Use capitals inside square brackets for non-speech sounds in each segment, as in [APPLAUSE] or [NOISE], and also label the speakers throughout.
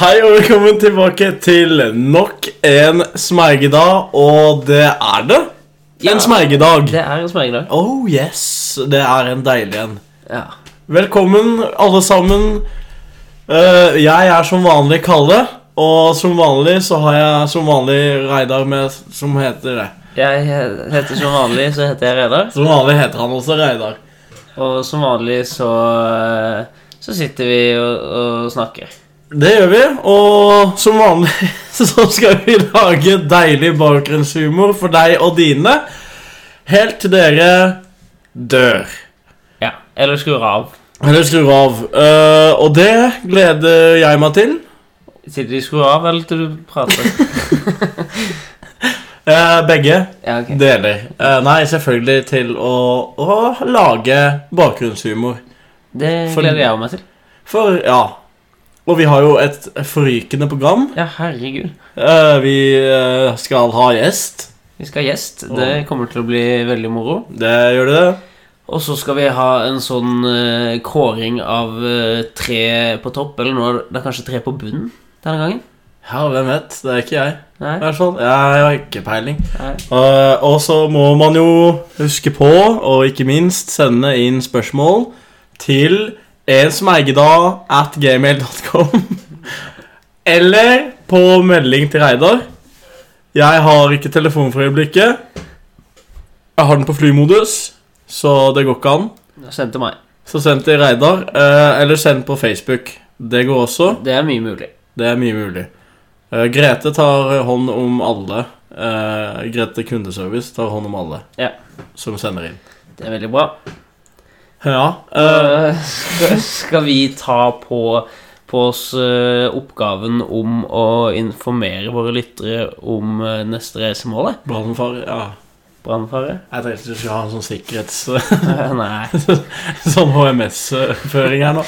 Speaker 1: Hei og velkommen tilbake til nok en smergedag, og det er det. En smergedag.
Speaker 2: Det er en smergedag.
Speaker 1: Oh yes, det er en deilig en.
Speaker 2: Ja.
Speaker 1: Velkommen, alle sammen. Eh, jeg er som vanlig Kalle, og som vanlig så har jeg som vanlig Reidar med som heter det.
Speaker 2: Jeg he- heter som vanlig så heter jeg Reidar,
Speaker 1: Som vanlig heter han også Reidar.
Speaker 2: og som vanlig så eh, så sitter vi og, og snakker.
Speaker 1: Det gjør vi, og som vanlig [LAUGHS] så skal vi lage deilig bakgrunnshumor for deg og dine. Helt til dere dør.
Speaker 2: Ja. Eller skrur av.
Speaker 1: Eller skrur av. Eh, og det gleder jeg meg til.
Speaker 2: Til de skrur av, eller til du prater.
Speaker 1: Eh, begge
Speaker 2: [LAUGHS] Ja, ok.
Speaker 1: deler. Eh, nei, selvfølgelig til å, å lage bakgrunnshumor.
Speaker 2: Det
Speaker 1: For-
Speaker 2: gleder jeg meg til.
Speaker 1: For ja Og vi har jo et forrykende program.
Speaker 2: Ja, herregud.
Speaker 1: Eh, vi eh, skal ha gjest.
Speaker 2: Vi skal ha gjest. Det kommer til å bli veldig moro.
Speaker 1: Det gjør det.
Speaker 2: Og så skal vi ha en sånn eh, kåring av eh, tre på topp, eller nå er det kanskje tre på bunnen denne gangen?
Speaker 1: Ja, hvem vet? Det er ikke jeg.
Speaker 2: Nei?
Speaker 1: I hvert fall. Jeg har ikke peiling.
Speaker 2: Nei.
Speaker 1: Eh, og så må man jo huske på, og ikke minst sende inn spørsmål til ensmeigedad at gmail.com. [LAUGHS] Eller på melding til Reidar. Jeg har ikke telefon for øyeblikket. Jeg har den på flymodus, så det går ikke an.
Speaker 2: Send til meg.
Speaker 1: Så send til Reidar, eh, eller send på Facebook. Det går også.
Speaker 2: Det er mye mulig.
Speaker 1: Det er mye mulig. Eh, Grete tar hånd om alle. Eh, Grete kundeservice tar hånd om alle
Speaker 2: Ja.
Speaker 1: som sender inn.
Speaker 2: Det er veldig bra.
Speaker 1: Ja. eh,
Speaker 2: Eh, [LAUGHS] skal, skal vi ta på, på oss eh, oppgaven om å informere våre lyttere om eh, neste reisemålet?
Speaker 1: Brannfar ja.
Speaker 2: Brannfare? [LAUGHS]
Speaker 1: Jeg tenkte du skulle ha en sånn sikkerhets... [LAUGHS]
Speaker 2: Eh, nei.
Speaker 1: sånn HMS-føring her nå.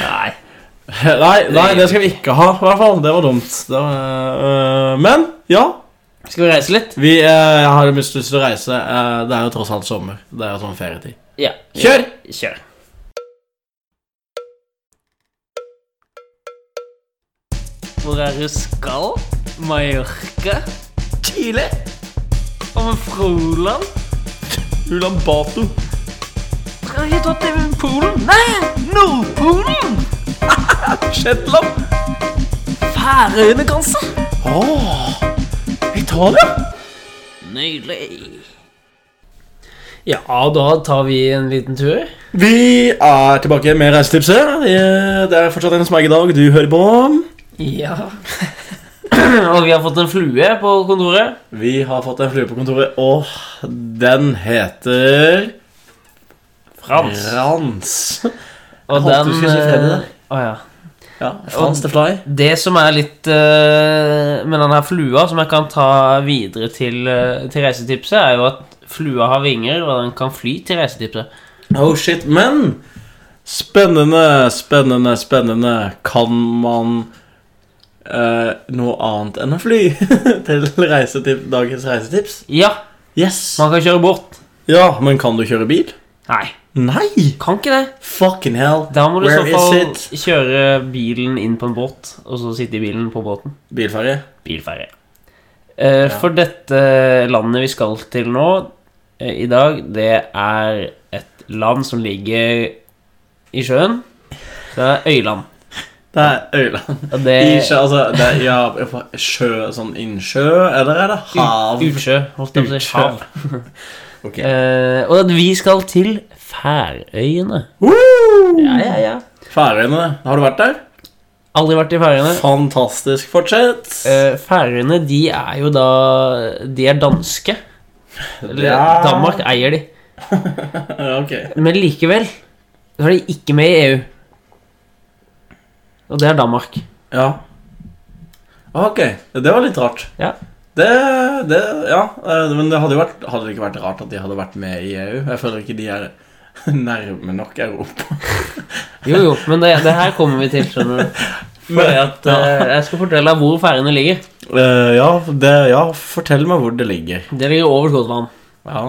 Speaker 2: nei.
Speaker 1: Nei, nei, det skal vi ikke ha, i hvert fall. Det var dumt. Det var, eh, men ja.
Speaker 2: Skal vi reise litt?
Speaker 1: Vi, eh, jeg har mest lyst til å reise. Eh, det er jo tross alt sommer. Det er jo sånn ferietid.
Speaker 2: Ja.
Speaker 1: Kjør!
Speaker 2: Kjør. Hvor er du skal? Mallorca?
Speaker 1: Chile!
Speaker 2: Og med Froland?
Speaker 1: Ulan Bato.
Speaker 2: Skal vi ta til Polen? Nei, Nordpolen!
Speaker 1: [LAUGHS] Shetland.
Speaker 2: Færøyene, kanskje?
Speaker 1: Åh, Italia!
Speaker 2: Nydelig. Ja, da tar vi en liten tur.
Speaker 1: Vi er tilbake med reisetipset. Eh, Det er fortsatt en smergedag du hører på.
Speaker 2: Ja. [CLEARS THROAT] Og vi har fått en flue på kontoret.
Speaker 1: Vi har fått en flue på kontoret, og den heter
Speaker 2: Frans.
Speaker 1: Frans.
Speaker 2: Og
Speaker 1: Jeg håpet du
Speaker 2: den
Speaker 1: skulle si Freddy der.
Speaker 2: eh, å ja.
Speaker 1: Ja, Frans the Fly.
Speaker 2: Det som er litt eh, med denne flua, som jeg kan ta videre til, eh, til reisetipset, er jo at flua har vinger, og den kan fly til reisetipset.
Speaker 1: Oh shit, men Spennende, spennende, spennende. Kan man eh, noe annet enn å fly [LAUGHS] til reisetip, dagens reisetips?
Speaker 2: Ja,
Speaker 1: Yes.
Speaker 2: man kan kjøre bort.
Speaker 1: Ja, men kan du kjøre bil?
Speaker 2: Nei,
Speaker 1: Nei!
Speaker 2: kan ikke det.
Speaker 1: Fucking hell.
Speaker 2: Da må du i
Speaker 1: Where
Speaker 2: så
Speaker 1: is
Speaker 2: fall kjøre bilen inn på en båt, og så sitte i bilen på båten.
Speaker 1: Bilferie.
Speaker 2: bilferie. Eh, For dette landet vi skal til nå eh, i dag, det er et land som ligger i sjøen. Det er øyland.
Speaker 1: Det er Øyland.
Speaker 2: Og det
Speaker 1: Isjø, altså det er, ja, Sjø, sånn innsjø, eller er det hav?
Speaker 2: Utsjø, holdt jeg på å si.
Speaker 1: Utsjø.
Speaker 2: Hav.
Speaker 1: Ok.
Speaker 2: Eh, og at vi skal til Færøyene.
Speaker 1: Woo!
Speaker 2: Ja, ja, ja.
Speaker 1: Færøyene. Har du vært der?
Speaker 2: Aldri vært i Færøyene.
Speaker 1: Fantastisk. Fortsett.
Speaker 2: Eh, Færøyene, de er jo da De er danske. Eller,
Speaker 1: Ja.
Speaker 2: Danmark eier de.
Speaker 1: Ja, ok.
Speaker 2: Men likevel så er de ikke med i EU. Og det er Danmark.
Speaker 1: Ja. Ah, Ok, det var litt rart.
Speaker 2: Ja.
Speaker 1: Det, det Ja. eh, Men det hadde jo vært Hadde det ikke vært rart at de hadde vært med i EU? Jeg føler ikke de er [LAUGHS] nærme nok Europa.
Speaker 2: Jo, jo, men det, det her kommer vi til,
Speaker 1: [LAUGHS]
Speaker 2: skjønner du.
Speaker 1: Men,
Speaker 2: Det, jeg skal fortelle deg hvor Færøyene ligger.
Speaker 1: Eh, ja, det, ja, fortell meg hvor det ligger.
Speaker 2: Det ligger over Skottland.
Speaker 1: Ja,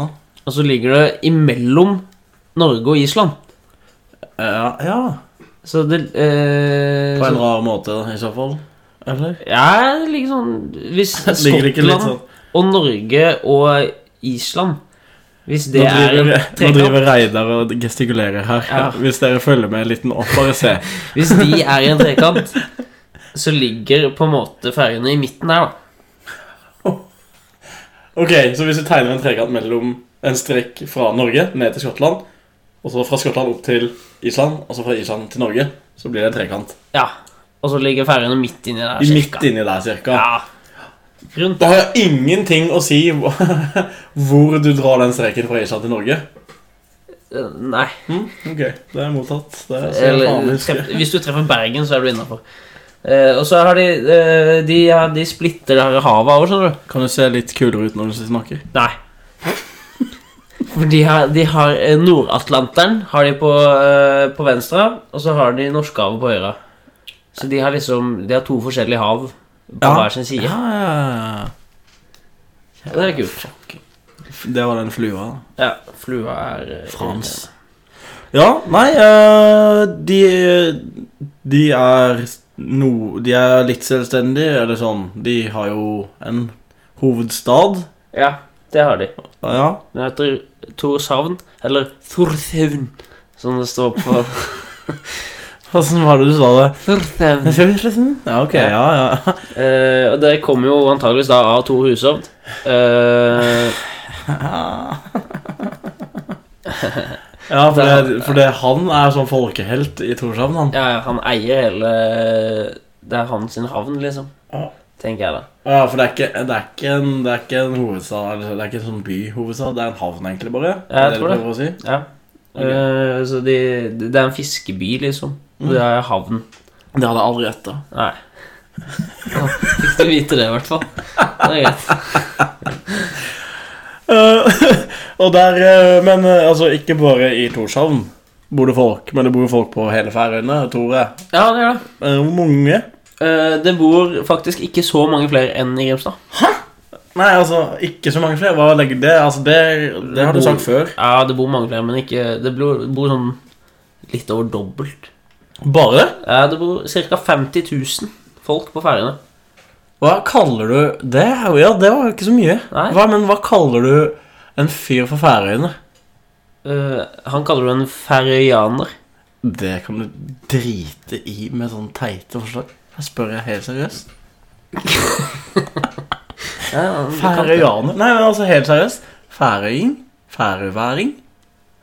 Speaker 2: Og så ligger det imellom Norge og Island.
Speaker 1: Eh, ja.
Speaker 2: Så det eh,
Speaker 1: På en
Speaker 2: så,
Speaker 1: rar måte, i så fall. Eller?
Speaker 2: Ja, det ligger sånn Hvis
Speaker 1: Ligger [LAUGHS] det ikke litt
Speaker 2: Skottland
Speaker 1: sånn
Speaker 2: og Norge og Island Hvis det
Speaker 1: Nå
Speaker 2: er en
Speaker 1: driver, nå
Speaker 2: trekant
Speaker 1: driver Reidar og gestikulerer her.
Speaker 2: Ja.
Speaker 1: Hvis dere følger med litt nå, bare se.
Speaker 2: Hvis de er i en trekant, så ligger på en måte Færøyene i midten her, da.
Speaker 1: Ok, Så hvis du tegner en trekant mellom en strekk fra Norge ned til Skottland, og så fra Skottland opp til Island, og så fra Island til Norge, så blir det en trekant.
Speaker 2: Ja. Og så ligger Færøyene midt inni der.
Speaker 1: I
Speaker 2: cirka.
Speaker 1: midt inni der, cirka.
Speaker 2: Ja. Rundt.
Speaker 1: Det har jo ingenting å si [LAUGHS] hvor hvor du drar den streken fra Island til Norge.
Speaker 2: Eh, Nei.
Speaker 1: Hm, ok, det er mottatt. Det er så jeg faen
Speaker 2: Eller,
Speaker 1: husker.
Speaker 2: treff, hvis du treffer Bergen, så er du innafor. Eh, og så har de eh, De, har- de splitter det her havet over, skjønner du.
Speaker 1: Kan du se litt kulere ut når du snakker?
Speaker 2: [LAUGHS] Nei. For de har, de har eh, Nord-Atlanteren har de på, eh, på venstre, og så har de Norskehavet på høyre. Så de har liksom De har to forskjellige hav på
Speaker 1: Ja.
Speaker 2: hver sin side.
Speaker 1: Ja, ja, ja.
Speaker 2: Det er kult.
Speaker 1: Det var den flua. da.
Speaker 2: Ja, flua er eh,
Speaker 1: Frans. Ja, nei eh, de, de er no, De er litt selvstendige, eller sånn. De har jo en hovedstad.
Speaker 2: Ja, det har de.
Speaker 1: Ja.
Speaker 2: Den heter Torshavn, eller Thorthavn, som det står [LAUGHS] på.
Speaker 1: Åssen var det du sa det?
Speaker 2: Thorthavn.
Speaker 1: liksom? Ja, ok. Ja, ja.
Speaker 2: Eh, og det kommer jo antageligvis da av Tor Hushovd. Eh,
Speaker 1: Ja, for det, for det, han er sånn folkehelt i Torshavn, han.
Speaker 2: ja, han eier hele Det er hans sin havn, liksom.
Speaker 1: Ja.
Speaker 2: Tenker jeg, da.
Speaker 1: Ja, for det er ikke, det er ikke, en, det er ikke en hovedstad, eller det er ikke en sånn byhovedstad. Det er en havn, egentlig, bare.
Speaker 2: Ja, jeg
Speaker 1: Er det
Speaker 2: tror
Speaker 1: du
Speaker 2: det.
Speaker 1: prøver å si?
Speaker 2: Ja. Eh, så de, det er en fiskeby, liksom. Og det er havn.
Speaker 1: Det hadde jeg aldri gjetta.
Speaker 2: Nei. Ja, Fikk du vite det, i hvert fall. Det er greit.
Speaker 1: Eh, [LAUGHS] og der, eh, men eh, altså, ikke bare i Torshavn bor det folk, men det bor folk på hele Færøyene, tror jeg.
Speaker 2: Ja, det gjør det.
Speaker 1: Eh, Hvor mange?
Speaker 2: Eh, det bor faktisk ikke så mange flere enn i Grimstad.
Speaker 1: Nei, altså, ikke så mange flere. Hva legger det? Altså, det, det har du sagt før.
Speaker 2: Ja, det bor mange flere, men ikke Det bor, bor sånn litt over dobbelt.
Speaker 1: Bare?
Speaker 2: Ja, det bor ca. 50 000 folk på Færøyene.
Speaker 1: Hva kaller du det? Ja, det var jo ikke så mye.
Speaker 2: Nei.
Speaker 1: Hva, men hva kaller du en fyr fra Færøyene?
Speaker 2: Eh, han kaller det en færøyaner.
Speaker 1: Det kan du drite i med sånne teite forslag. Her spør jeg helt seriøst.
Speaker 2: Ja, han-
Speaker 1: Færøyaner? Nei, men altså, helt seriøst. Færøying? Færøværing?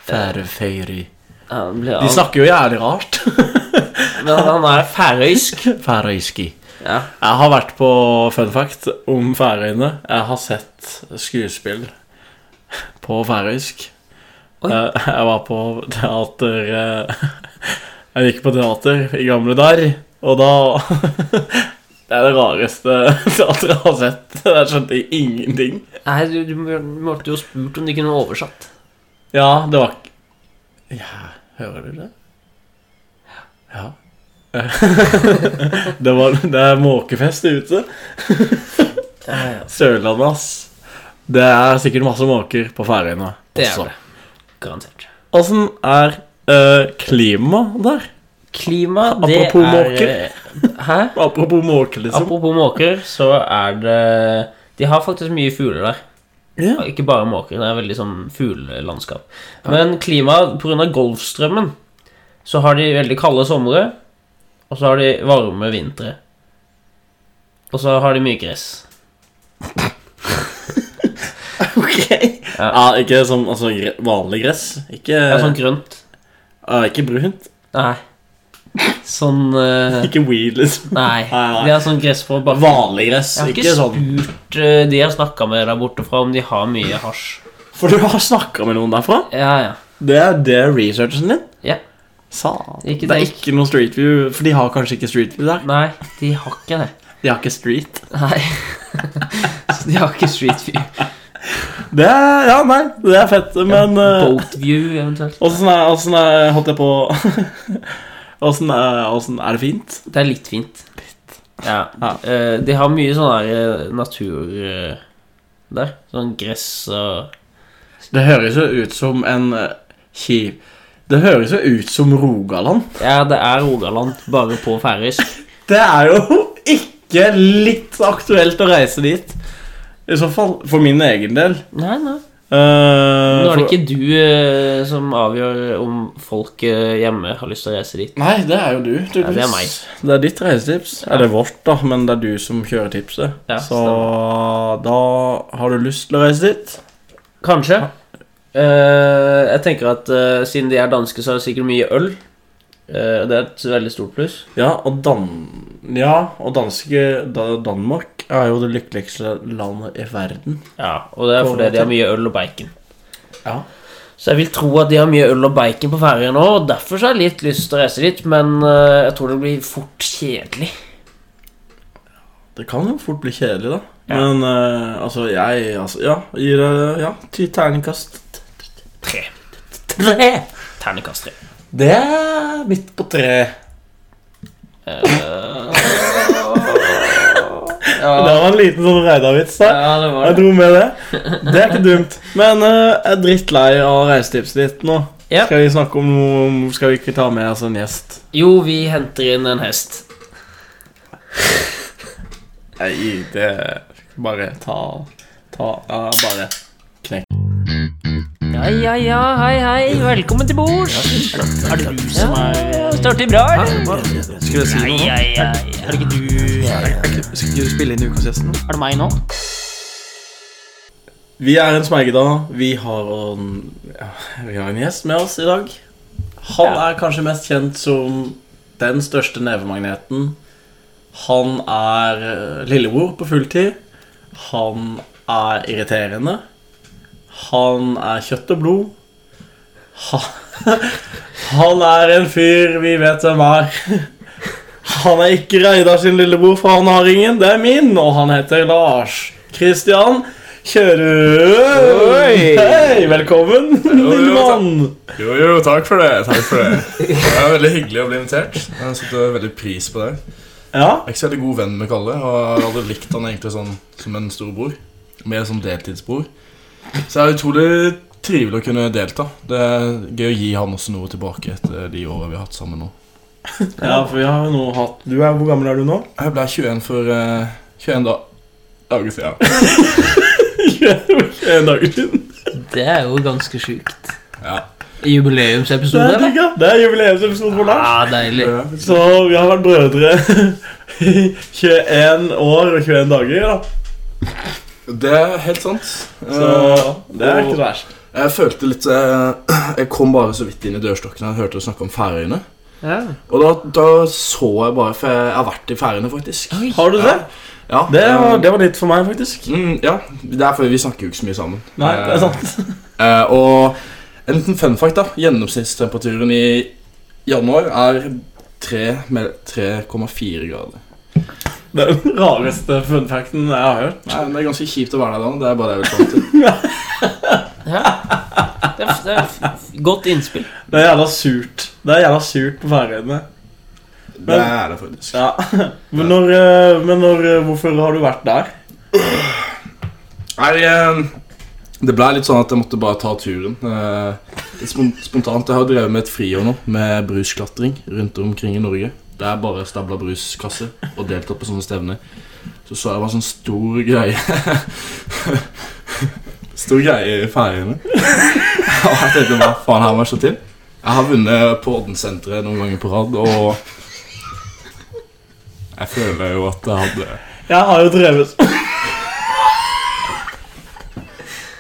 Speaker 1: Færøføyri.
Speaker 2: Ja, han blir-
Speaker 1: De snakker jo jævlig rart.
Speaker 2: Men han er færøysk.
Speaker 1: [LAUGHS] Færøyski.
Speaker 2: Ja.
Speaker 1: Jeg har vært på fun fact om Færøyene. Jeg har sett skuespill på færøysk.
Speaker 2: Oi.
Speaker 1: Eh, Jeg var på teater eh, [LAUGHS] Jeg gikk på teater i gamle der, og da [LAUGHS] Det er det rareste [LAUGHS] teatret jeg har sett. Jeg skjønte ingenting.
Speaker 2: Nei, du, du måtte jo spurt om de kunne oversatt.
Speaker 1: Ja, det var ikke Ja, hører du det? Ja. [LAUGHS] det, var, det er måkefest ute. Sørlandet, ass. Det er sikkert masse måker på Færøyene.
Speaker 2: Det er
Speaker 1: også.
Speaker 2: det. Garantert.
Speaker 1: Åssen er uh, klimaet der?
Speaker 2: Klima, det
Speaker 1: Apropos
Speaker 2: er eh,
Speaker 1: måker.
Speaker 2: Hæ?
Speaker 1: Apropos måker, liksom.
Speaker 2: Apropos måker, så er det De har faktisk mye fugler der. [LAUGHS]
Speaker 1: Ja.
Speaker 2: Ikke bare måker, det er veldig sånn fuglelandskap. Men klimaet pga. Golfstrømmen så har de veldig kalde somre, og så har de varme vintre. Og så har de mye gress.
Speaker 1: Ok. Ja. ikke som altså, gre- vanlig gress. Ikke,
Speaker 2: Det er sånn grønt.
Speaker 1: ja, ikke brunt.
Speaker 2: Nei. Sånn eh,
Speaker 1: Ikke weed, liksom.
Speaker 2: Nei.
Speaker 1: nei.
Speaker 2: De har sånn gress på bakken.
Speaker 1: Vanlig gress.
Speaker 2: Jeg har
Speaker 1: Ikke,
Speaker 2: ikke
Speaker 1: sånn
Speaker 2: spurt eh, de jeg snakka med der borte fra, om de har mye hasj.
Speaker 1: For du har snakka med noen derfra?
Speaker 2: Ja, ja.
Speaker 1: Det er det er researchen din?
Speaker 2: Ja.
Speaker 1: Satan.
Speaker 2: Ikke
Speaker 1: det er
Speaker 2: tenk.
Speaker 1: ikke noe Street View, for de har kanskje ikke Street View der?
Speaker 2: Nei, de har ikke det.
Speaker 1: De har ikke Street.
Speaker 2: Nei. [LAUGHS] Så de har ikke Street View.
Speaker 1: Det er, ja, nei, det er fett, men eh,
Speaker 2: Boat View, eventuelt.
Speaker 1: Åssen er, åssen er Holdt jeg på [LAUGHS] Åssen er, åssen er det fint?
Speaker 2: Det er litt fint. Ja.
Speaker 1: Ja.
Speaker 2: Eh, de har mye sånn der eh, natur eh, der. Sånn gress og
Speaker 1: Det høres jo ut som en eh, kjip Det høres jo ut som Rogaland.
Speaker 2: Ja, det er Rogaland, bare på færøysk.
Speaker 1: Det er jo [LAUGHS] ikke litt aktuelt å reise dit. I så fall for min egen del.
Speaker 2: Nei, nei.
Speaker 1: Eh,
Speaker 2: Nå er det
Speaker 1: for-
Speaker 2: ikke du eh, som avgjør om folk eh, hjemme har lyst til å reise dit.
Speaker 1: Nei, det er jo du. du
Speaker 2: Ja, det er meg.
Speaker 1: Det er ditt reisetips.
Speaker 2: Ja.
Speaker 1: Eller vårt, da, men det er du som kjører tipset.
Speaker 2: Ja,
Speaker 1: så da har du lyst til å reise dit.
Speaker 2: Kanskje. Eh, jeg tenker at eh, siden de er danske, så er det sikkert mye øl. Eh, og det er et veldig stort pluss.
Speaker 1: Ja, og Dan... Ja, og danske da, Danmark er jo det lykkeligste landet i verden.
Speaker 2: Ja, Og det er fordi de har mye øl og bacon.
Speaker 1: Ja.
Speaker 2: Så jeg vil tro at de har mye øl og bacon på Færøyene nå, og derfor så har jeg litt lyst til å reise dit, men eh, jeg tror det blir fort kjedelig.
Speaker 1: Det kan jo fort bli kjedelig, da.
Speaker 2: Ja.
Speaker 1: Men eh, altså, jeg altså, Ja, gir det ja, ti terningkast.
Speaker 2: Tre. Terningkast tre.
Speaker 1: Det er midt på treet. Eh, [LAUGHS] Det var en liten sånn Reidar-vits der.
Speaker 2: Ja, det var
Speaker 1: Jeg
Speaker 2: det.
Speaker 1: dro med det. Det er ikke dumt. Men eh, jeg er drittlei av reisetipset ditt nå.
Speaker 2: Ja.
Speaker 1: Skal vi snakke om noe Skal vi ikke ta med oss en gjest?
Speaker 2: Jo, vi henter inn en hest.
Speaker 1: Nei, det Bare ta Ta ja, Bare knekk.
Speaker 2: Ja, ja, ja, hei, hei, velkommen til bords. Er det du som er Står til bra, eller?
Speaker 1: Skulle jeg si
Speaker 2: Ja, ja, ja. Er det ikke du Er
Speaker 1: Skulle du spille inn ukas gjest nå?
Speaker 2: det meg nå?
Speaker 1: Vi er en smergedag. Vi har en ja, Vi har en gjest med oss i dag. Han
Speaker 2: Ja.
Speaker 1: er kanskje mest kjent som den største nevemagneten. Han er eh, lillebror på fulltid. Han er irriterende. Han er kjøtt og blod. Ha, [LAUGHS] han er en fyr vi vet hvem er. [LAUGHS] Han er ikke Reidar sin lillebror, for han har ingen. Det er min, og han heter Lars. Kristian Kjørø.
Speaker 3: Oi.
Speaker 1: Hei, velkommen, min
Speaker 3: jo, takk.
Speaker 1: mann.
Speaker 3: Jo, jo, takk for det. takk for Det Det er veldig hyggelig å bli invitert. Jeg setter veldig pris på det.
Speaker 1: Ja,
Speaker 3: Jeg er ikke så veldig god venn med Kalle, og jeg har aldri likt han egentlig sånn som en storbror. Mer som deltidsbror. Så det er utrolig trivelig å kunne delta. Det er gøy å gi han også noe tilbake etter de åra vi har hatt sammen nå.
Speaker 1: Ja, for vi har jo nå hatt Du er, Hvor gammel er du [LAUGHS] nå?
Speaker 3: Jeg ble 21 for eh, 21 da dager siden.
Speaker 1: 21 dager siden.
Speaker 2: Det er jo ganske sjukt.
Speaker 3: Ja.
Speaker 1: Det Ah.
Speaker 2: Jubileumsepisode,
Speaker 1: er digg, ja. Det er jubileumsepisode for Lars.
Speaker 2: Ja, deilig.
Speaker 1: Så vi har vært brødre [LAUGHS] i 21 år og 21 dager, da.
Speaker 3: Det er helt sant.
Speaker 1: Så det er ikke så verst.
Speaker 3: Jeg følte litt eh, Jeg kom bare så vidt inn i dørstokken og hørte dere snakke om Færøyene.
Speaker 2: Ja.
Speaker 3: Og da, da så jeg bare For jeg har vært i Færøyene, faktisk.
Speaker 2: Oi.
Speaker 1: Har du det?
Speaker 3: Ja,
Speaker 1: Det var,
Speaker 3: eh,
Speaker 1: det var litt for meg, faktisk.
Speaker 3: Mm, ja, det er fordi vi snakker jo ikke så mye sammen.
Speaker 1: Nei, det er sant.
Speaker 3: Eh, eh, og en liten fun fact, da. Gjennomsnittstemperaturen i januar er tre med 3,4 grader.
Speaker 1: Det er [LAUGHS] den rareste funfacten jeg har hørt.
Speaker 3: Nei, men Det er ganske kjipt å være der da. Det er bare det jeg vil fram til.
Speaker 2: ja. Det er, det er f- godt innspill.
Speaker 1: Det er jævla surt. Det er jævla surt på Færøyene.
Speaker 3: [LAUGHS] Det er det faktisk.
Speaker 1: Ja. Men når, eh, men når eh, Hvorfor har du vært der?
Speaker 3: Nei, eh, det ble litt sånn at jeg måtte bare ta turen. eh, Litt spon- spontant. Jeg har drevet med et friår nå, med brusklatring rundt omkring i Norge. Det er bare stabla bruskasser og deltatt på sånne stevner. Så så jeg det var en sånn stor greie [LAUGHS] Stor greie i Færøyene. [LAUGHS] Og jeg tenkte hva faen her må jeg slå til? Jeg har vunnet på Odden-senteret noen ganger på rad, og jeg føler jo at jeg hadde
Speaker 1: Jeg har jo [LAUGHS] drevet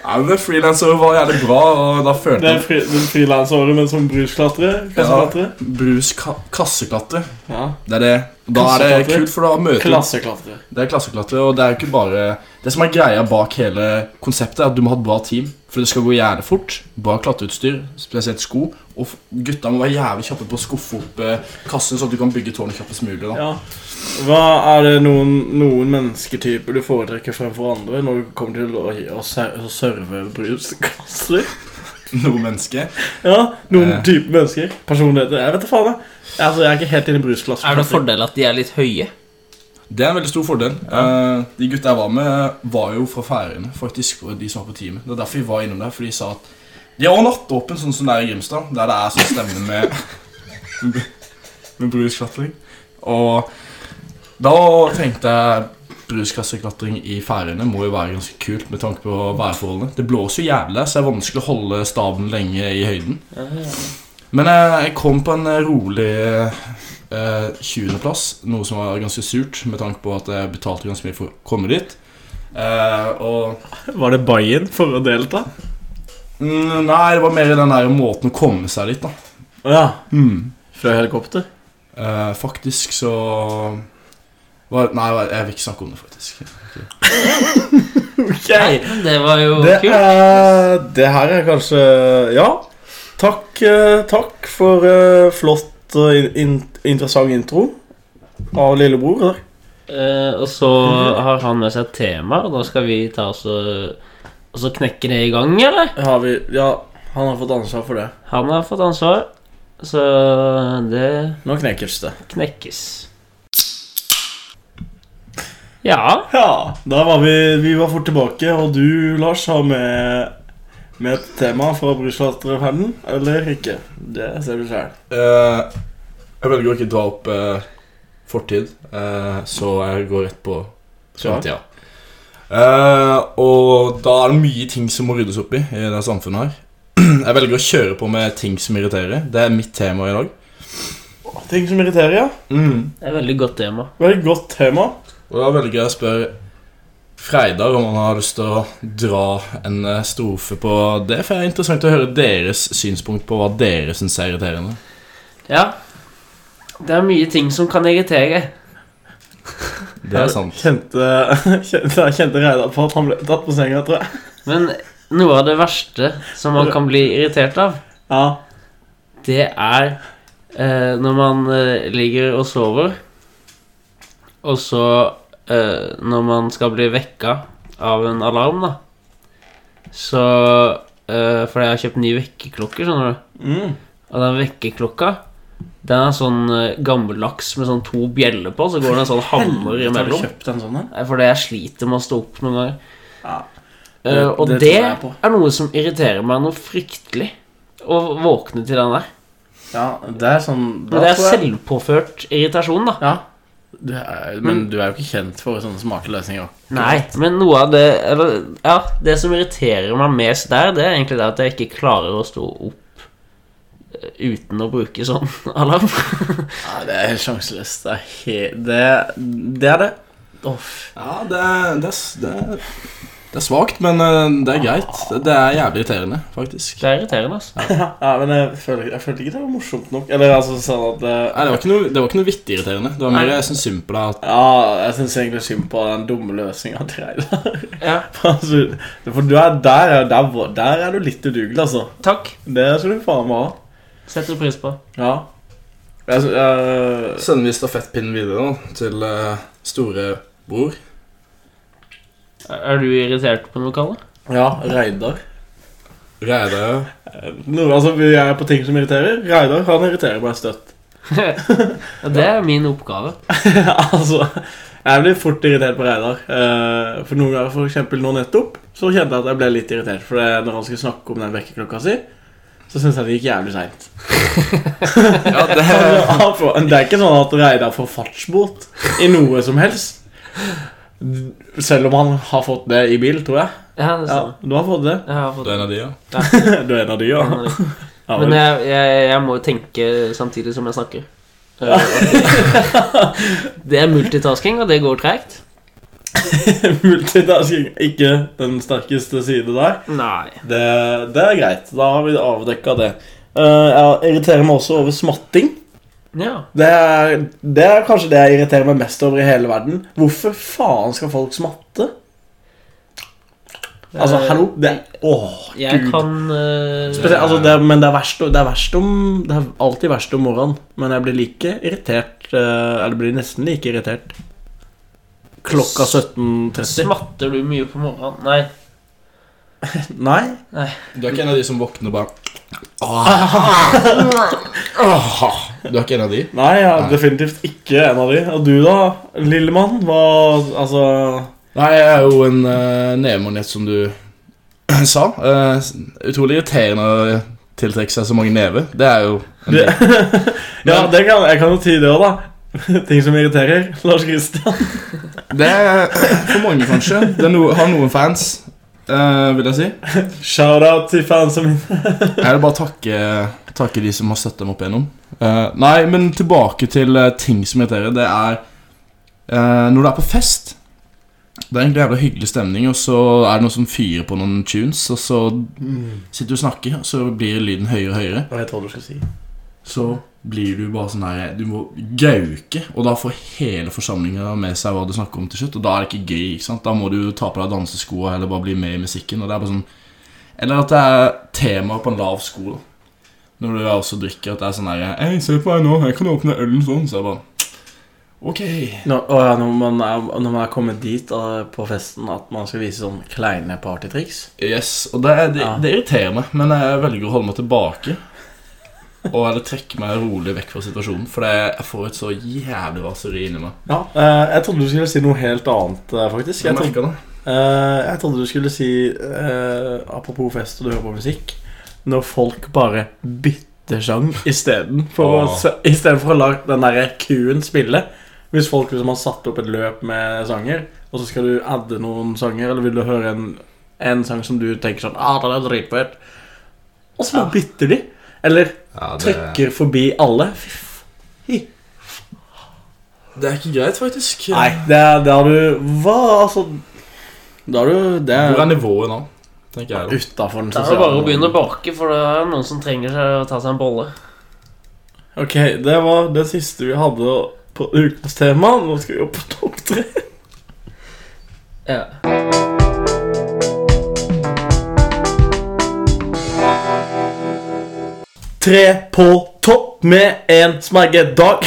Speaker 3: Ja, men Frilanser var jævlig bra, og da følte
Speaker 1: Det
Speaker 3: jeg
Speaker 1: er fri, det er frilansåret, men som brusklatrer. Klasseklatre.
Speaker 3: Brus ka kasseklatre.
Speaker 1: Ja.
Speaker 3: Det er det. Da er det
Speaker 1: Klasseklatre.
Speaker 3: kult, for da møter du
Speaker 1: Klasseklatre.
Speaker 3: Det er klasseklatre, og det er jo ikke bare Det som er greia bak hele konseptet, er at du må ha et bra team. For det skal gå jævlig fort. Bra klatreutstyr, spesielt sko. Og f- gutta må være jævlig kjappe på å skuffe opp eh, kassen, sånn at du kan bygge tårnet kjappest mulig. da
Speaker 1: Ja. Hva Er det noen, noen mennesketyper du foretrekker fremfor andre når du kommer til å, å, ser- å serve bruskasser?
Speaker 3: [LAUGHS] Noe menneske.
Speaker 1: Ja, noen
Speaker 3: Eh.
Speaker 1: type mennesker. Personligheter. Jeg vet da faen. Jeg. Altså, jeg er ikke helt inne i brusklasser.
Speaker 2: Er det en fordel at de er litt høye?
Speaker 3: Det er en veldig stor fordel. Eh, de gutta jeg var med, var jo fra Færøyene, faktisk. Og de som var på teamet. Det er derfor vi var innom der, for de sa at De har også nattåpen, sånn som det er i Grimstad, der det er sånn stemme med, med brusklatring. Og da tenkte jeg bruskasseklatring i Færøyene må jo være ganske kult med tanke på værforholdene. Det blåser jo jævlig, så det er vanskelig å holde staven lenge i høyden. Men jeg, jeg kom på en rolig eh, 20.-plass, noe som var ganske surt med tanke på at jeg betalte ganske mye for å komme dit. Eh, og
Speaker 1: Var det buy-in for å delta?
Speaker 3: Mm, Nei, det var mer den der måten å komme seg dit, da.
Speaker 1: Å ja. Fra
Speaker 2: [LAUGHS]
Speaker 1: helikopter?
Speaker 3: Eh, faktisk så var, Nei, jeg vil ikke snakke om det, faktisk.
Speaker 1: Ok
Speaker 2: Nei, men det var jo
Speaker 1: det,
Speaker 2: kult.
Speaker 1: er, det her er kanskje Ja. Takk, eh, takk for eh, flott og in, in- interessant intro av lillebror.
Speaker 2: Eh, og så har han med seg et tema, og da skal vi ta oss og, og så knekke det i gang, eller?
Speaker 1: Har vi, ja, han har fått ansvar for det.
Speaker 2: Han har fått ansvar, så det
Speaker 1: Nå knekkes det.
Speaker 2: knekkes. Ja.
Speaker 1: Ja, da var vi, vi var fort tilbake, og du, Lars, har med, med et tema fra Bruslaterferden, eller ikke. Det ser du sjøl.
Speaker 3: Eh, jeg velger å ikke dra opp eh, fortid, eh, så jeg går rett på framtida. Eh, og da er det mye ting som må ryddes opp i i det samfunnet her. [CLEARS THROAT] Jeg velger å kjøre på med ting som irriterer. Det er mitt tema i dag.
Speaker 1: Ting som irriterer, ja.
Speaker 3: Mm.
Speaker 2: Det er et veldig godt tema.
Speaker 1: Veldig godt tema.
Speaker 3: Og da velger jeg å spørre Freidar om han har lyst til å dra en eh, strofe på det. For det er interessant å høre deres synspunkt på hva dere syns er irriterende.
Speaker 2: Ja. Det er mye ting som kan irritere.
Speaker 3: Det er sant.
Speaker 1: Kjente, [LAUGHS] kjente, kjente Reidar på at han ble tatt på senga, tror jeg.
Speaker 2: Men noe av det verste som man kan bli irritert av,
Speaker 1: Ja.
Speaker 2: det er eh, når man eh, ligger og sover, og så eh, når man skal bli vekka av en alarm, da. Så eh, Fordi jeg har kjøpt ny vekkerklokke, skjønner du.
Speaker 1: Mm.
Speaker 2: Og den vekkerklokka, den er sånn eh, gammeldags med sånn to bjeller på, så går det en sånn hammer
Speaker 1: Helvete, Har
Speaker 2: imellom.
Speaker 1: du kjøpt en sånn en?
Speaker 2: Nei, Fordi jeg sliter med å stå opp noen ganger.
Speaker 1: Ja.
Speaker 2: Eh,
Speaker 1: Det-
Speaker 2: og det,
Speaker 1: det tror jeg på.
Speaker 2: er noe som irriterer meg noe fryktelig. Å våkne til den der.
Speaker 1: ja. Det er sånn
Speaker 2: Men det er selvpåført irritasjon, da.
Speaker 1: Ja. Du er, men du er jo ikke kjent for sånne smarte løsninger.
Speaker 2: Nei, men noe av det eller, Ja, det som irriterer meg mest der, det er egentlig det at jeg ikke klarer å stå opp eh, uten å bruke sånn [LAUGHS] alarm.
Speaker 1: Nei, det er helt sjanseløst. Det er he- det, det er det. Uff.
Speaker 3: Ja, det er, det er, s- det er, det er svakt, men eh, det er greit. Det- Det er jævlig irriterende, faktisk.
Speaker 2: Det er irriterende, altså.
Speaker 1: [LAUGHS] Ja, men jeg føler, jeg føler ikke det var morsomt nok. Eller altså sånn at det,
Speaker 3: Nei, det var ikke noe, det var ikke noe vittig irriterende. Det var mer
Speaker 2: Nei.
Speaker 3: jeg syns synd på deg. at-
Speaker 1: Ja, jeg syns egentlig synd på den dumme løsninga til Reidar.
Speaker 2: Ja,
Speaker 1: altså, [LAUGHS] for du er der, er- der, var- der er du litt udugelig, altså.
Speaker 2: takk.
Speaker 1: Det skal du faen meg ha.
Speaker 2: Setter pris på.
Speaker 1: Ja. Jeg, sy- eh, jeg,
Speaker 3: Sender vi stafettpinnen videre da, til eh, storebror?
Speaker 2: Er du irritert på noe, Kalle?
Speaker 1: ja, Reidar.
Speaker 3: Reidar?
Speaker 1: Noe, altså, vi er på ting som irriterer. Reidar han irriterer meg støtt.
Speaker 2: ja, det er min oppgave.
Speaker 1: [LAUGHS] altså, Jeg blir fort irritert på Reidar. Eh, for noen ganger, for eksempel nå nettopp, så kjente jeg at jeg ble litt irritert. For det, når han skulle snakke om den vekkerklokka si, så syns jeg det gikk jævlig seint. [LAUGHS]
Speaker 3: Ja, det [LAUGHS]
Speaker 1: Han får- Det er ikke sånn at Reidar får fartsbot i noe som helst. Selv om han har fått det i bil, tror jeg.
Speaker 2: Ja, det er
Speaker 1: Ja,
Speaker 2: sant.
Speaker 1: du har fått det. [LAUGHS]
Speaker 2: Jeg har
Speaker 3: Du er
Speaker 2: fått
Speaker 3: en av de, ja?
Speaker 1: Du er en av de, ja.
Speaker 3: [LAUGHS]
Speaker 1: ja
Speaker 2: Men
Speaker 1: vel.
Speaker 2: jeg, jeg, jeg må jo tenke samtidig som jeg snakker. Eh, [LAUGHS] det er multitasking, og det går tregt.
Speaker 1: [LAUGHS] Multitasking. Ikke den sterkeste side der.
Speaker 2: Nei.
Speaker 1: Det, det er greit. Da har vi avdekka det. Eh, jeg irriterer meg også over smatting.
Speaker 2: Ja.
Speaker 1: Det er, det er kanskje det jeg irriterer meg mest over i hele verden. Hvorfor faen skal folk smatte? Altså,
Speaker 2: Eh,
Speaker 1: hallo? Det er Åh,
Speaker 2: Jeg
Speaker 1: Gud.
Speaker 2: kan eh,
Speaker 1: Spesielt, altså det, er- men det er, verst, det, er verst om, det er alltid verst om morgenen, men jeg blir like irritert eh, Eller blir nesten like irritert klokka 17.30.
Speaker 2: Smatter du mye på morgenen? Nei.
Speaker 1: Nei?
Speaker 3: Du er ikke en av de som våkner og bare Åh. Åh. Du er ikke en av de?
Speaker 1: Nei, jeg er definitivt ikke en av de. Og du, da, lille mann? Hva Altså
Speaker 3: Nei, jeg er jo en uh, nevemonet som eh, du [CLEARS THROAT] sa. eh, utrolig irriterende å tiltrekke seg så mange never. Det er jo en
Speaker 1: Det,
Speaker 3: del.
Speaker 1: ja, det kan, jeg kan jo ty det òg, da. [LAUGHS] Ting som irriterer. Lars Kristian.
Speaker 3: Det er for mange, kanskje. Det er no, har noen fans, eh, vil jeg si.
Speaker 1: Shout-out til fansa mine.
Speaker 3: Jeg vil bare takke, takke de som har støttet dem opp igjennom. Eh, nei, men tilbake til eh, ting som irriterer. Det er eh, når du er på fest. Det er egentlig jævla hyggelig stemning, og så er det noen som fyrer på noen tunes, og så sitter du og snakker, og så blir lyden høyere og høyere.
Speaker 1: Jeg vet hva du skal si.
Speaker 3: Så blir du bare sånn her Du må gauke, og da får hele forsamlinga med seg hva du snakker om til slutt, og da er det ikke gøy, ikke sant? Da må du ta på deg danseskoa eller bare bli med i musikken, og det er bare sånn Eller at det er temaer på en lav sko, da. Når du også drikker, at det er sånn her Hei, se på meg nå, jeg kan åpne ølen sånn, så jeg bare Ok.
Speaker 1: Nå- å ja, når, man er, når man er kommet dit eh, på festen at man skal vise sånn kleine partytriks
Speaker 3: Yes. Og det, er- det,
Speaker 1: Ja.
Speaker 3: det irriterer meg, men jeg velger å holde meg tilbake. Og eller trekke meg rolig vekk fra situasjonen, for det, jeg får et så jævlig raseri inni meg.
Speaker 1: Ja, eh, Jeg trodde du skulle si noe helt annet, eh, faktisk. Jeg
Speaker 3: Jeg
Speaker 1: trodde,
Speaker 3: merker det.
Speaker 1: eh, jeg trodde du skulle si, eh, apropos fest og du hører på musikk, når folk bare bytter sjang isteden for, å
Speaker 3: Åh.
Speaker 1: se- i stedet for å la den derre kuen spille. Hvis folk liksom har satt opp et løp med sanger, og så skal du adde noen sanger, eller vil du høre en, en sang som du tenker sånn ah, den er dritfet, og så bare bytter de. Eller
Speaker 3: Ja, det,
Speaker 1: trykker forbi alle. Fy faen.
Speaker 3: det er ikke greit, faktisk.
Speaker 1: Nei, det er- det har du Hva, altså Da har du Det
Speaker 3: Hvor er
Speaker 1: er
Speaker 3: nivået nå? Tenker jeg da.
Speaker 1: utafor den
Speaker 2: Da er det bare å begynne å
Speaker 1: normen.
Speaker 2: bake, for det er noen som trenger seg å ta seg en bolle.
Speaker 1: Ok, det var det siste vi hadde på ukas tema. Nå skal vi opp på topp tre.
Speaker 2: Ja.
Speaker 1: Tre på topp med en [LAUGHS] smeggedag.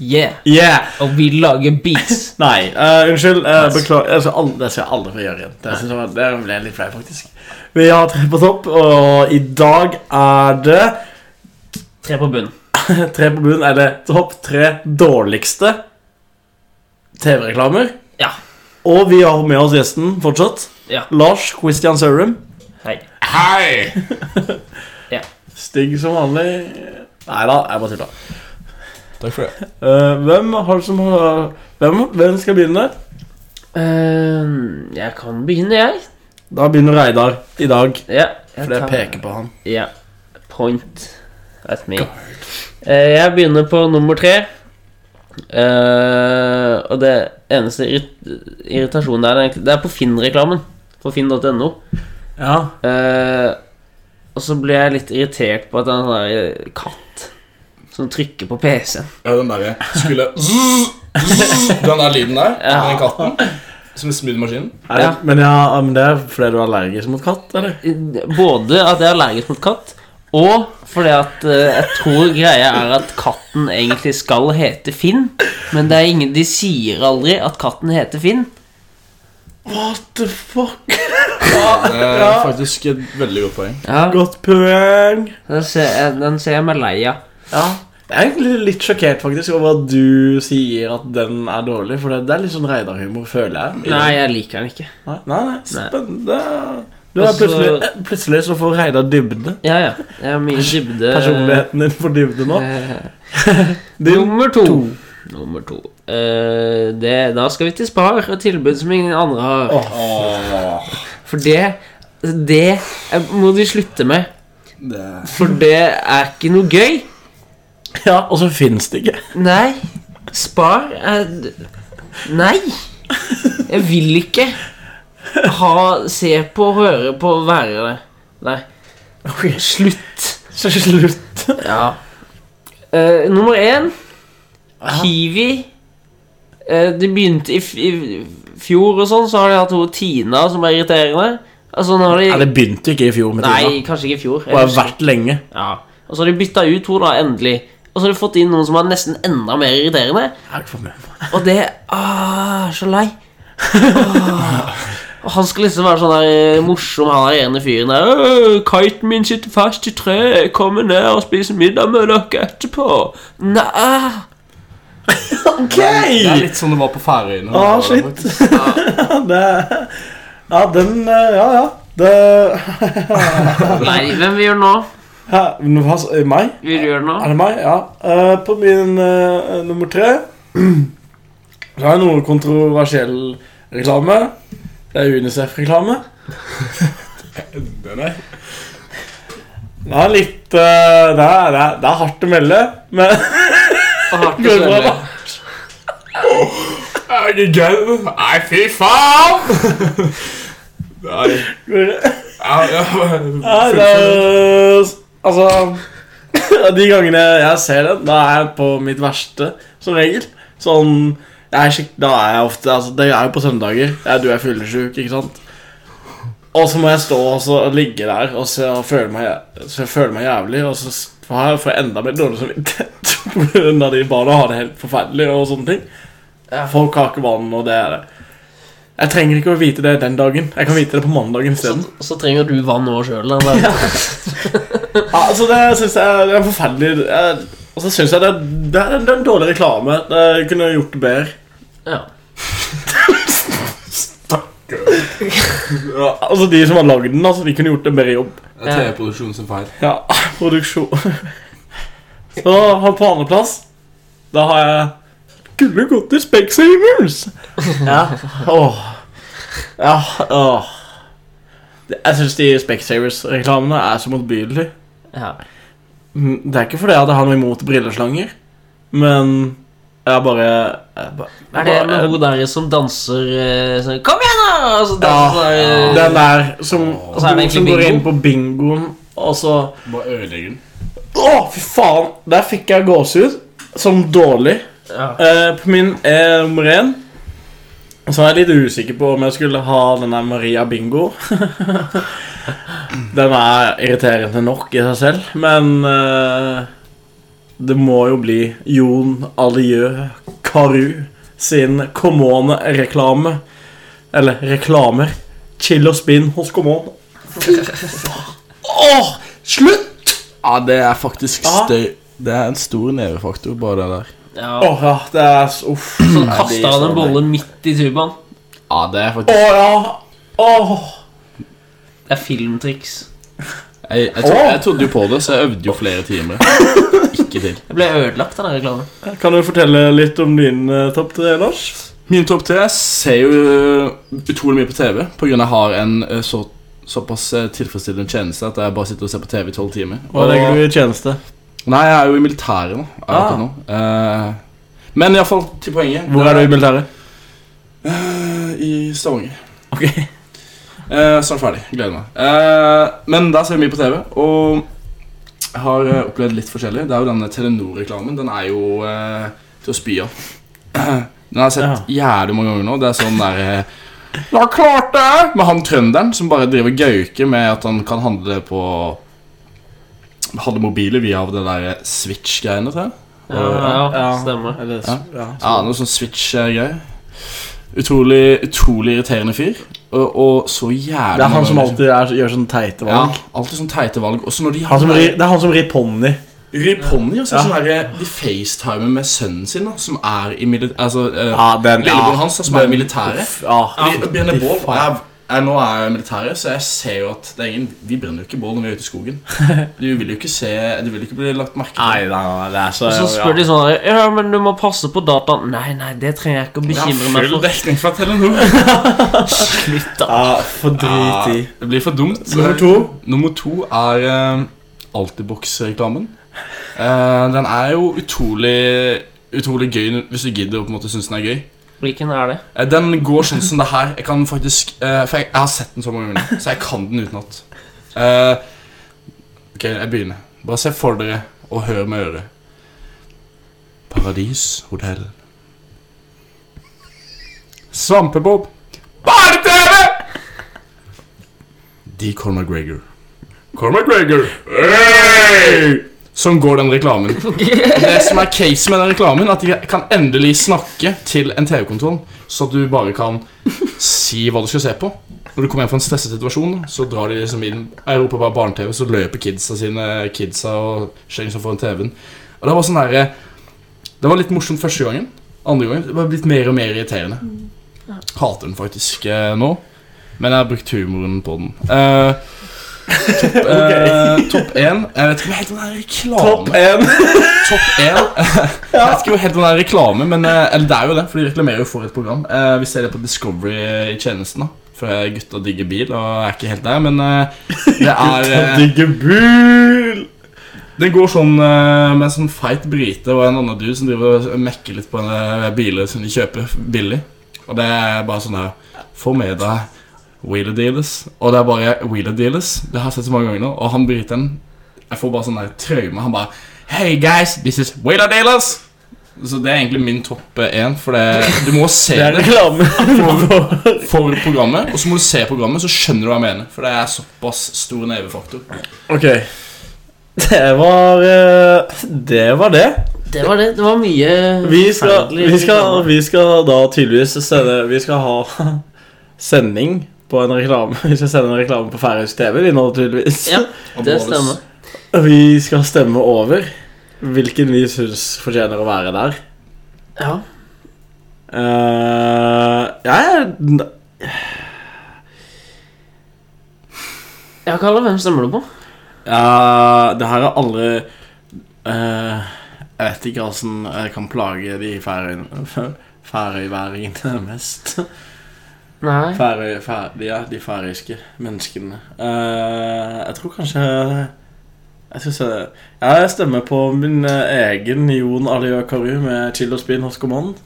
Speaker 2: Yeah.
Speaker 1: Yeah!
Speaker 2: Og vi lager beats.
Speaker 1: Nei, eh, unnskyld. eh,
Speaker 2: Nice.
Speaker 1: beklager. Jeg skal aldri, det skal jeg aldri få gjøre igjen. Det, synes jeg var, det ble jeg litt flau, faktisk. Vi har tre på topp, og i dag er det
Speaker 2: [LAUGHS]
Speaker 1: [LAUGHS]
Speaker 2: Tre på bunn.
Speaker 1: tre på bunnen, eller topp tre dårligste TV-reklamer.
Speaker 2: Ja.
Speaker 1: Og vi har med oss gjesten fortsatt.
Speaker 2: Ja.
Speaker 1: Lars Christian Sørum.
Speaker 2: Hei.
Speaker 3: Hei!
Speaker 1: Stygg som vanlig. Nei da, jeg bare tuller.
Speaker 3: Takk for det.
Speaker 1: Eh, hvem har det som har hvem, hvem skal begynne?
Speaker 2: Eh, jeg kan begynne, jeg.
Speaker 1: Da begynner Reidar i dag.
Speaker 2: Ja, jeg
Speaker 1: Fordi jeg
Speaker 2: tar-
Speaker 1: peker på han.
Speaker 2: Ja. Point at me. Eh, jeg begynner på nummer tre. Eh, og det eneste irrit irritasjonen der, det er egentlig- det er på Finn-reklamen. På finn.no.
Speaker 1: Ja.
Speaker 2: Eh, og så ble jeg litt irritert på at det er en sånn der, eh, katt som trykker på PC-en.
Speaker 3: Ja, den derre skulle zzz, zzz, Den der lyden der,
Speaker 2: Ja.
Speaker 3: den katten. Som en smoothmaskin.
Speaker 1: Er det,
Speaker 2: Ja.
Speaker 1: Men, ja, ah, men det er fordi du er allergisk mot katt, eller?
Speaker 2: Både at jeg er allergisk mot katt, og fordi at eh, jeg tror greia er at katten egentlig skal hete Finn. Men det er ingen, de sier aldri at katten heter Finn.
Speaker 1: What the fuck?
Speaker 3: Det er faktisk et veldig godt poeng.
Speaker 2: Ja,
Speaker 1: Godt poeng.
Speaker 2: den ser, jeg- den ser jeg meg lei av.
Speaker 1: Ja. Jeg er egentlig litt sjokkert faktisk over at du sier at den er dårlig, for det, det er litt sånn Reidar-humor, føler jeg.
Speaker 2: Nei, jeg liker den ikke.
Speaker 1: Nei, nei, nei. spennende. Du er
Speaker 2: Altså-
Speaker 1: plutselig, eh, plutselig så får Reidar dybde.
Speaker 2: Ja, ja. Jeg har mye dybde.
Speaker 1: Personligheten din får dybde nå.
Speaker 2: Eh,
Speaker 1: Din
Speaker 2: nummer to. Nummer to. Eh, det, da skal vi til Spar, et tilbud som ingen andre har.
Speaker 3: Åh,
Speaker 2: For det Det eh, må de slutte med.
Speaker 3: det er
Speaker 2: For det er ikke noe gøy.
Speaker 1: Ja, og så finnes det ikke.
Speaker 2: Nei. Spar er d- Nei. Jeg vil ikke ha Se på, høre på, være det. Nei. Slutt.
Speaker 1: Så slutt.
Speaker 2: Ja. Eh, nummer én Kiwi. Eh, det begynte i, f i fjor og sånn, så har de hatt hun Tina som er irriterende. Altså, nå har de
Speaker 1: Nei, det begynte ikke i fjor med Tina.
Speaker 2: Nei, kanskje ikke i fjor. jeg
Speaker 1: Det har
Speaker 2: husker-
Speaker 1: vært lenge.
Speaker 2: ja. Og så har de bytta ut henne, da, endelig. Og så har de fått inn noen som er nesten enda mer irriterende.
Speaker 1: Jeg har ikke fått med meg.
Speaker 2: Og det ah, Så lei. Ah. Og han skal liksom være sånn der eh, morsom, han der ene fyren der. «Øh, 'Kiten min sitter fast i treet. Kommer ned og spiser middag med dere etterpå.' Nei ah.
Speaker 3: Det er
Speaker 1: Ok!
Speaker 3: litt sånn det var på Færøyene.
Speaker 1: Ah, shit. [LAUGHS]
Speaker 3: faktisk.
Speaker 1: Ja, det, ja den eh, Ja, ja. Det [LAUGHS]
Speaker 2: Nei, hvem vil gjøre nå?
Speaker 1: Hæ? Nå, hva s- eh, Meg?
Speaker 2: Vil du gjøre nå?
Speaker 1: Er det meg? Ja. Eh, på min eh, nummer tre [CLEARS THROAT] Så har jeg noe kontroversiell reklame. Det er Unicef-reklame.
Speaker 3: Den er
Speaker 1: Det er litt eh, det, er, det, er, det er hardt å melde, men [LAUGHS]
Speaker 2: Og hardt
Speaker 1: Går
Speaker 2: og
Speaker 1: det bra,
Speaker 2: kjølig.
Speaker 1: da?
Speaker 3: Er det gøy? Nei, fy faen! Nei, ja, ja.
Speaker 1: Nei, det er, Altså [LAUGHS] De gangene jeg ser den, da er jeg på mitt verste, som regel. Sånn jeg er skikk- Da er jeg ofte altså, Det er jo på søndager. Jeg, du er fyllesyk, ikke sant? Og så må jeg stå og så ligge der og, se, og føle, meg, så jeg føler meg jævlig. Og så s- har jeg får jeg enda mer dårlig samvittighet [LAUGHS] pga. de barna har det helt forferdelig. og sånne ting Folk har ikke vann, og det er det. Jeg trenger ikke å vite det den dagen. Jeg kan vite det på mandagen
Speaker 2: Så,
Speaker 1: isteden.
Speaker 2: så trenger du vann nå sjøl. Hva
Speaker 1: Ja, altså det synes jeg det er forferdelig jeg, Og så synes jeg det, er- det, er, det er en dårlig reklame Jeg kunne gjort det bedre
Speaker 2: ja.
Speaker 1: ja, Altså de som har laget den, altså, de kunne gjort det bedre jobb
Speaker 3: Det er TV-produksjonen sin feil.
Speaker 1: Ja, produksjon Så han på andre plass Da har jeg Kunne gått til Specsavers Ja, åh Ja, åh Det- Jeg synes de Specsavers-reklamene er så motbydelige
Speaker 2: ja.
Speaker 1: Mm, Det er ikke fordi at jeg har noe imot brilleslanger, men jeg bare jeg bare-
Speaker 2: Er det
Speaker 1: jeg bare-
Speaker 2: med hun der som danser eh, sånn Kom igjen, da! Og så
Speaker 1: Ja,
Speaker 2: danser sånn, eh,
Speaker 1: den der som,
Speaker 2: så er det egentlig
Speaker 1: som går
Speaker 2: bingo.
Speaker 1: inn på bingoen, og så
Speaker 3: Bare ødelegger den.
Speaker 1: Å, fy faen! Der fikk jeg gåsehud som dårlig.
Speaker 2: ja.
Speaker 1: Eh, på min eh, nummer én så er jeg litt usikker på om jeg skulle ha den der Maria Bingo. [LAUGHS] den er irriterende nok i seg selv, men eh, det må jo bli Jon Alieu Karu sin Common-reklame. Eller reklamer. Chill og spinn hos Common.
Speaker 3: Åh, slutt! Ja, det er faktisk
Speaker 1: Ja.
Speaker 3: støy. Det er en stor nevefaktor, bare det der.
Speaker 2: ja.
Speaker 1: Åh, ja, det er s- Uff.
Speaker 2: Sånn
Speaker 1: Nei, det
Speaker 2: kastet
Speaker 1: er
Speaker 2: han en
Speaker 1: så-
Speaker 2: bolle midt i tubaen.
Speaker 3: Ja, det er
Speaker 1: Å
Speaker 3: faktisk...
Speaker 1: ja. Åh.
Speaker 2: Det er filmtriks.
Speaker 3: Jeg, jeg, trodde, jeg trodde jo på det, så jeg øvde jo flere timer. Ikke til.
Speaker 2: Jeg ble ødelagt av den reklamen.
Speaker 1: Kan du fortelle litt om din eh, topp tre, Lars?
Speaker 3: Min topp tre Jeg ser jo eh, utrolig mye på TV På grunn av at jeg har en eh, så, såpass eh, tilfredsstillende tjeneste At jeg bare sitter og ser på TV i 12 timer
Speaker 1: Hva legger du i tjeneste?
Speaker 3: Nei, jeg er jo i militæret nå, jeg vet
Speaker 1: Ah.
Speaker 3: ikke nå. Eh, Men i hvert fall til poenget
Speaker 1: Hvor er du i militæret?
Speaker 3: Eh, I Stavanger
Speaker 1: Ok.
Speaker 3: Eh, Snart ferdig, gleder meg Eh, Men der ser vi mye på TV Og jeg har eh, opplevd litt forskjellig Det er jo denne Telenor-reklamen Den er jo eh, til å spy av [CLEARS THROAT] Den har jeg sett jævlig mange ganger nå Det er sånn der eh, Ja, klart det! Med han trønderen som bare driver gauke med at han kan handle på Hadde mobiler via av det der eh, Switch-greiene, tror jeg
Speaker 2: Ja, ja, stemmer.
Speaker 1: [LAUGHS] Eller,
Speaker 3: Ja.
Speaker 1: ja.
Speaker 3: ja, noe sånn switch-greier. Utrolig, utrolig irriterende fyr. Og, og så jævlig
Speaker 1: Det er han
Speaker 3: mange
Speaker 1: som
Speaker 3: ganger,
Speaker 1: alltid er, gjør sånne teite
Speaker 3: liksom. ja,
Speaker 1: valg.
Speaker 3: Alltid sånn teite valg. Og så når de
Speaker 1: Han
Speaker 3: har sånn
Speaker 1: som rir, det er han som rir ponni.
Speaker 3: rir ponni, og
Speaker 1: Altså,
Speaker 3: så
Speaker 1: Ja.
Speaker 3: sånn der, de facetimer med sønnen sin, da, som er i milit... Altså, eh,
Speaker 1: den
Speaker 3: lillebroren hans, da, som er i militæret.
Speaker 1: Uff, Ja.
Speaker 3: Vi brenner
Speaker 1: Fy
Speaker 3: bål.
Speaker 1: faen.
Speaker 3: Jeg, jeg, nå er jeg i militæret, så jeg ser jo at det er ingen, vi brenner jo ikke bål når vi er ute
Speaker 1: [LAUGHS]
Speaker 3: i skogen. Du vil jo ikke, se, du vil jo ikke bli lagt merke til.
Speaker 1: Nei, nei, nei, det er så
Speaker 2: Og så spør de sånn der, Ja, men du må passe på dataen. Nei, nei, det trenger jeg ikke å
Speaker 3: Det er
Speaker 2: bekymre meg
Speaker 3: full
Speaker 2: for.
Speaker 3: dekning fra Telenor.
Speaker 2: [LAUGHS] Slutt, da.
Speaker 1: Ja, for [LAUGHS] drit i.
Speaker 3: Ja, det blir for dumt.
Speaker 1: Nummer to?
Speaker 3: Nummer to er eh, Altibox-reklamen. Eh, den er jo utrolig Utrolig gøy hvis du gidder å på en måte synes den er gøy.
Speaker 2: Hvilken er det?
Speaker 3: Eh, den går sånn som det her. Jeg kan faktisk eh, For jeg, jeg har sett den så mange ganger, nå, så jeg kan den utenat. Eh, ok, jeg begynner. Bare se for dere og hør med øret. Paradis hotell. Svampebob. Barne-TV! De Conor McGregor. Conor McGregor! Hey! Sånn går den reklamen. Og det som er case med den reklamen, at de kan endelig snakke til en TV-kontroll, så at du bare kan si hva du skal se på. Når du kommer hjem fra en stresset situasjon, da, så drar de liksom inn Jeg roper bare barne-TV, så løper kidsa sine kidsa og skjenger seg foran TV-en. Og det var sånn derre Det var litt morsomt første gangen. Andre gangen det var blitt mer og mer irriterende. Hater den faktisk eh, nå. Men jeg har brukt humoren på den. Eh, topp eh, topp én Jeg vet ikke om helt om det er reklame.
Speaker 1: Topp én.
Speaker 3: Topp 1 [LAUGHS] Jeg vet ikke hvor helt om det er reklame, men eh, eller det er jo det, for de reklamerer jo for et program. Eh, Vi ser det på Discovery i tjenesten, da. For eh, gutta digger bil og er ikke helt der, men eh, det er eh,
Speaker 1: Digger bul.
Speaker 3: Det går sånn eh, med en sånn feit brite og en annen dude som driver og mekker litt på en eh, biler som de kjøper billig. Og det er bare sånn her Få med deg Wheeler Dealers. Og det er bare Wheeler Dealers. Det har jeg sett så mange ganger nå. Og han briten Jeg får bare sånn der traume. Han bare Hey guys, this is Wheeler Dealers! Så det er egentlig min topp eh, én, for det, du må se
Speaker 1: [LAUGHS] Det er
Speaker 3: det
Speaker 1: reklame.
Speaker 3: for programmet. Og så må du se programmet, så skjønner du hva jeg mener. For det er såpass stor nevefaktor.
Speaker 1: ok. Det var eh, Det var det.
Speaker 2: Det var det. Det var mye
Speaker 1: Vi skal,
Speaker 2: forferdelig
Speaker 1: vi skal,
Speaker 2: reklame.
Speaker 1: vi skal da tydeligvis sende Vi skal ha [LAUGHS] sending på en reklame. Vi skal sende en reklame på færøysk TV, vi nå, tydeligvis.
Speaker 2: Ja,
Speaker 3: Og
Speaker 2: det
Speaker 3: både-
Speaker 2: stemmer.
Speaker 1: [LAUGHS] Vi skal stemme over hvilken vi syns fortjener å være der.
Speaker 2: Ja.
Speaker 1: Eh, jeg er
Speaker 2: Ja, Kalle, hvem stemmer du på?
Speaker 1: Ja, det her er aldri eh, Jeg vet ikke hvordan jeg kan plage de færøyene- [LAUGHS] færøyværingene mest.
Speaker 2: Nei.
Speaker 1: Færøy, fær, de, er, de færøyske menneskene. Eh, jeg tror kanskje Jeg skal se Jeg stemmer på min eh, egen Jon Aliø Karu med chill og spinn hos Command.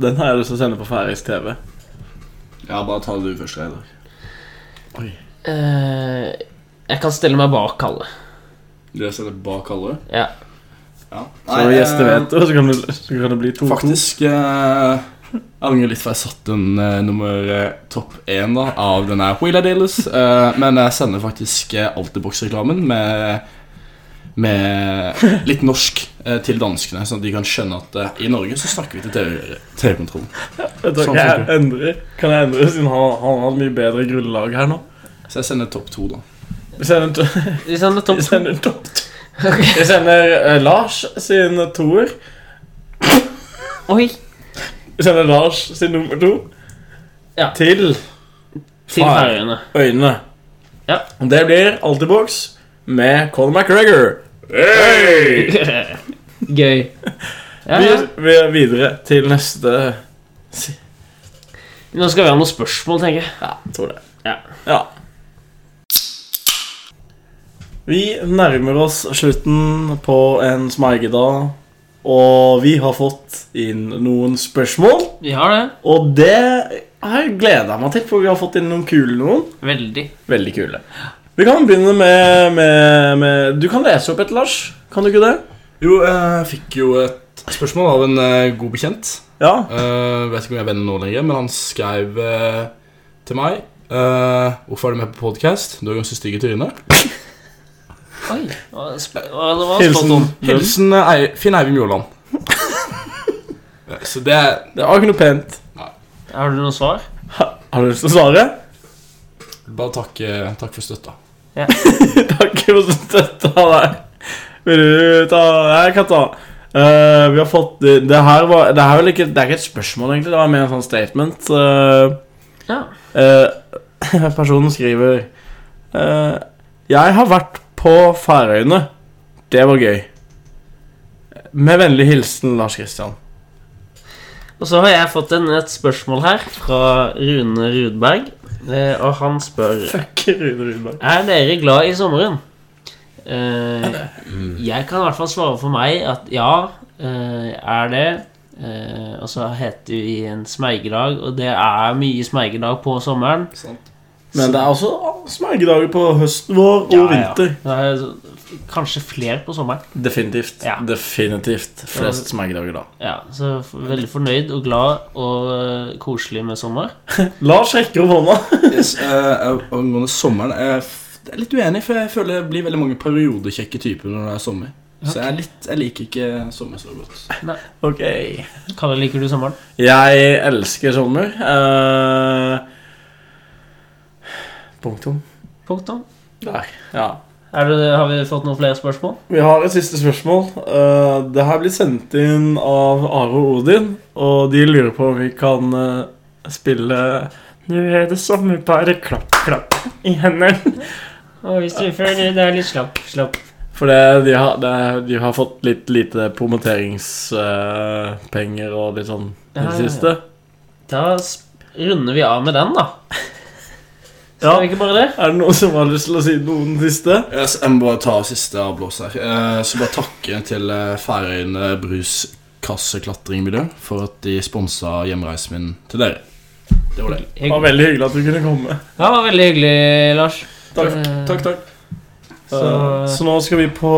Speaker 1: Den har jeg lyst til å sende på færøysk TV.
Speaker 3: Ja, bare ta det du først, Reidar.
Speaker 2: Eh, jeg kan stille meg bak Kalle.
Speaker 3: Du har sett det bak alle?
Speaker 2: Ja.
Speaker 3: Ja. eh,
Speaker 1: Så gjester vet det, så kan det, så kan det bli to.
Speaker 3: Faktisk eh, Jeg angrer litt for jeg satte en eh, nummer eh, topp én da, av denne Wheeler [LAUGHS] Dealers. eh, men jeg sender faktisk eh, Altibox-reklamen med, med litt norsk eh, til danskene, sånn at de kan skjønne at eh, i Norge så snakker vi til TV TV-kontrollen.
Speaker 1: Jeg tror
Speaker 3: Sånn
Speaker 1: ikke jeg
Speaker 3: funker.
Speaker 1: endrer. Kan jeg endre, siden han, han har et mye bedre grunnlag her nå?
Speaker 3: Så jeg sender topp to, da.
Speaker 1: Vi sender, to- [LAUGHS]
Speaker 2: Vi sender topp
Speaker 1: vi
Speaker 2: to.
Speaker 1: sender, topp to. Vi sender eh, Lars sin toer.
Speaker 2: Oi.
Speaker 1: Vi sender Lars sin nummer to
Speaker 2: Ja.
Speaker 1: til
Speaker 2: Til
Speaker 1: Far.
Speaker 2: Færøyene. [LAUGHS]
Speaker 1: øynene.
Speaker 2: Ja.
Speaker 1: Det blir Altibox med Colin McGregor.
Speaker 2: Gøy. Ja, ja.
Speaker 1: Vi, vi er videre til neste
Speaker 2: Nå skal vi ha noen spørsmål, tenker jeg.
Speaker 1: Ja, jeg tror det.
Speaker 2: Ja.
Speaker 1: Ja. Vi nærmer oss slutten på en smergedag, og vi har fått inn noen spørsmål.
Speaker 2: Vi har det.
Speaker 1: Og det har jeg gleda meg til, for vi har fått inn noen kule noen.
Speaker 2: Veldig.
Speaker 1: Veldig kule. Vi kan begynne med, med, med Du kan lese opp et, Lars. Kan du ikke det?
Speaker 3: Jo, eh, jeg fikk jo et spørsmål av en eh, god bekjent.
Speaker 1: Ja.
Speaker 3: Eh, vet ikke om jeg er venner nå lenger, men han skrev eh, til meg eh, Hvorfor er du med på podkast? Du er ganske stygg i trynet.
Speaker 2: Oi. hva sp- hva- Det var spot
Speaker 1: Hilsen
Speaker 2: on.
Speaker 3: Hilsen eh, Ei- Finn Eivind Mjåland. Ja, Så det er
Speaker 1: Det var ikke noe pent.
Speaker 2: Har du noe svar?
Speaker 1: Ha, har du lyst til å svare? [LAUGHS]
Speaker 3: Bare takk, eh, takk for støtta.
Speaker 1: Takk for støtta deg. Vil du ta Nei, Jeg kan ta. Eh, vi har fått Det, det her var Det her er vel ikke Det er ikke et spørsmål, egentlig. Det var mer en sånn statement. Eh,
Speaker 2: Ja.
Speaker 1: eh, [LAUGHS] personen skriver eh, Jeg har vært på Færøyene. Det var gøy. Med vennlig hilsen Lars Kristian.
Speaker 2: Og så har jeg fått en, et spørsmål her fra Rune Rudberg, eh, og han spør
Speaker 1: Fuck Rune Rudberg.
Speaker 2: Er dere glad i sommeren? Eh, jeg kan i hvert fall svare for meg at ja, eh, er det. Eh, og så heter vi en smergedag, og det er mye smergedag på sommeren.
Speaker 1: Men det er også smergedager på høsten vår og
Speaker 2: Ja, ja.
Speaker 1: vinter.
Speaker 2: Det er så- kanskje flere på sommeren.
Speaker 1: Definitivt.
Speaker 2: Ja.
Speaker 1: Definitivt flest smergedager da.
Speaker 2: Ja, så f- veldig fornøyd og glad og eh, koselig med sommer.
Speaker 1: Lars rekker opp
Speaker 2: [LAUGHS]
Speaker 1: hånda.
Speaker 3: Yes, eh, angående sommeren Jeg er litt uenig, for jeg føler det blir veldig mange periodekjekke typer når det er sommer. Så jeg, liker ikke sommer så godt.
Speaker 1: Ok
Speaker 2: Kalle, liker du sommeren?
Speaker 1: Jeg elsker sommer. Eh, punktum.
Speaker 2: Punktum.
Speaker 1: Der. Ja.
Speaker 2: Er det, har vi fått noen flere spørsmål?
Speaker 1: Vi har et siste spørsmål. Eh, det her blir sendt inn av Are og Odin, og de lurer på om vi kan eh, spille Nå er det sommer, bare klapp, klapp i hendene.
Speaker 2: Og hvis du føler deg litt slapp, slapp
Speaker 1: For det, de, har, det, de har fått litt lite promoteringspenger eh, og litt sånn i
Speaker 2: Ja, ja,
Speaker 1: det
Speaker 2: ja.
Speaker 1: siste.
Speaker 2: Da s- runder vi av med den, da. Skal
Speaker 1: Ja.
Speaker 2: vi ikke bare det?
Speaker 1: Er det noen som har lyst til å si noen siste?
Speaker 3: Eh, så Jeg må bare ta siste avblås her. Eh, Så bare takke til eh, Færøyene bruskasseklatringmiljø for at de sponsa hjemreisen min til dere. Det var det.
Speaker 1: Det var
Speaker 2: Ja,
Speaker 1: veldig hyggelig at du kunne komme.
Speaker 2: det var veldig hyggelig, Lars.
Speaker 1: Takk,
Speaker 2: Eh,
Speaker 1: takk, takk. Så,
Speaker 2: Så,
Speaker 1: så nå skal vi på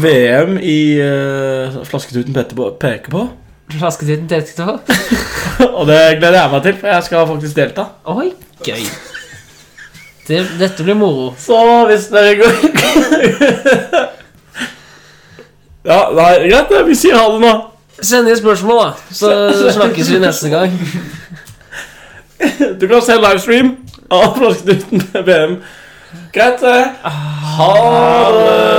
Speaker 1: VM i eh, Flasketuten Petter på- peker på. [LAUGHS]
Speaker 2: Flasketuten til etterpå.
Speaker 1: Og det gleder jeg meg til, for jeg skal faktisk delta.
Speaker 2: Oi, gøy.
Speaker 1: [LAUGHS]
Speaker 2: Det, dette blir moro.
Speaker 1: Så hvis dere går [LAUGHS] Ja, nei, greit, det. vi sier ha det nå.
Speaker 2: Send inn spørsmål, da, så snakkes vi neste gang.
Speaker 1: Du kan se livestream av Flasketuten VM. Greit, det. eh. Ha det.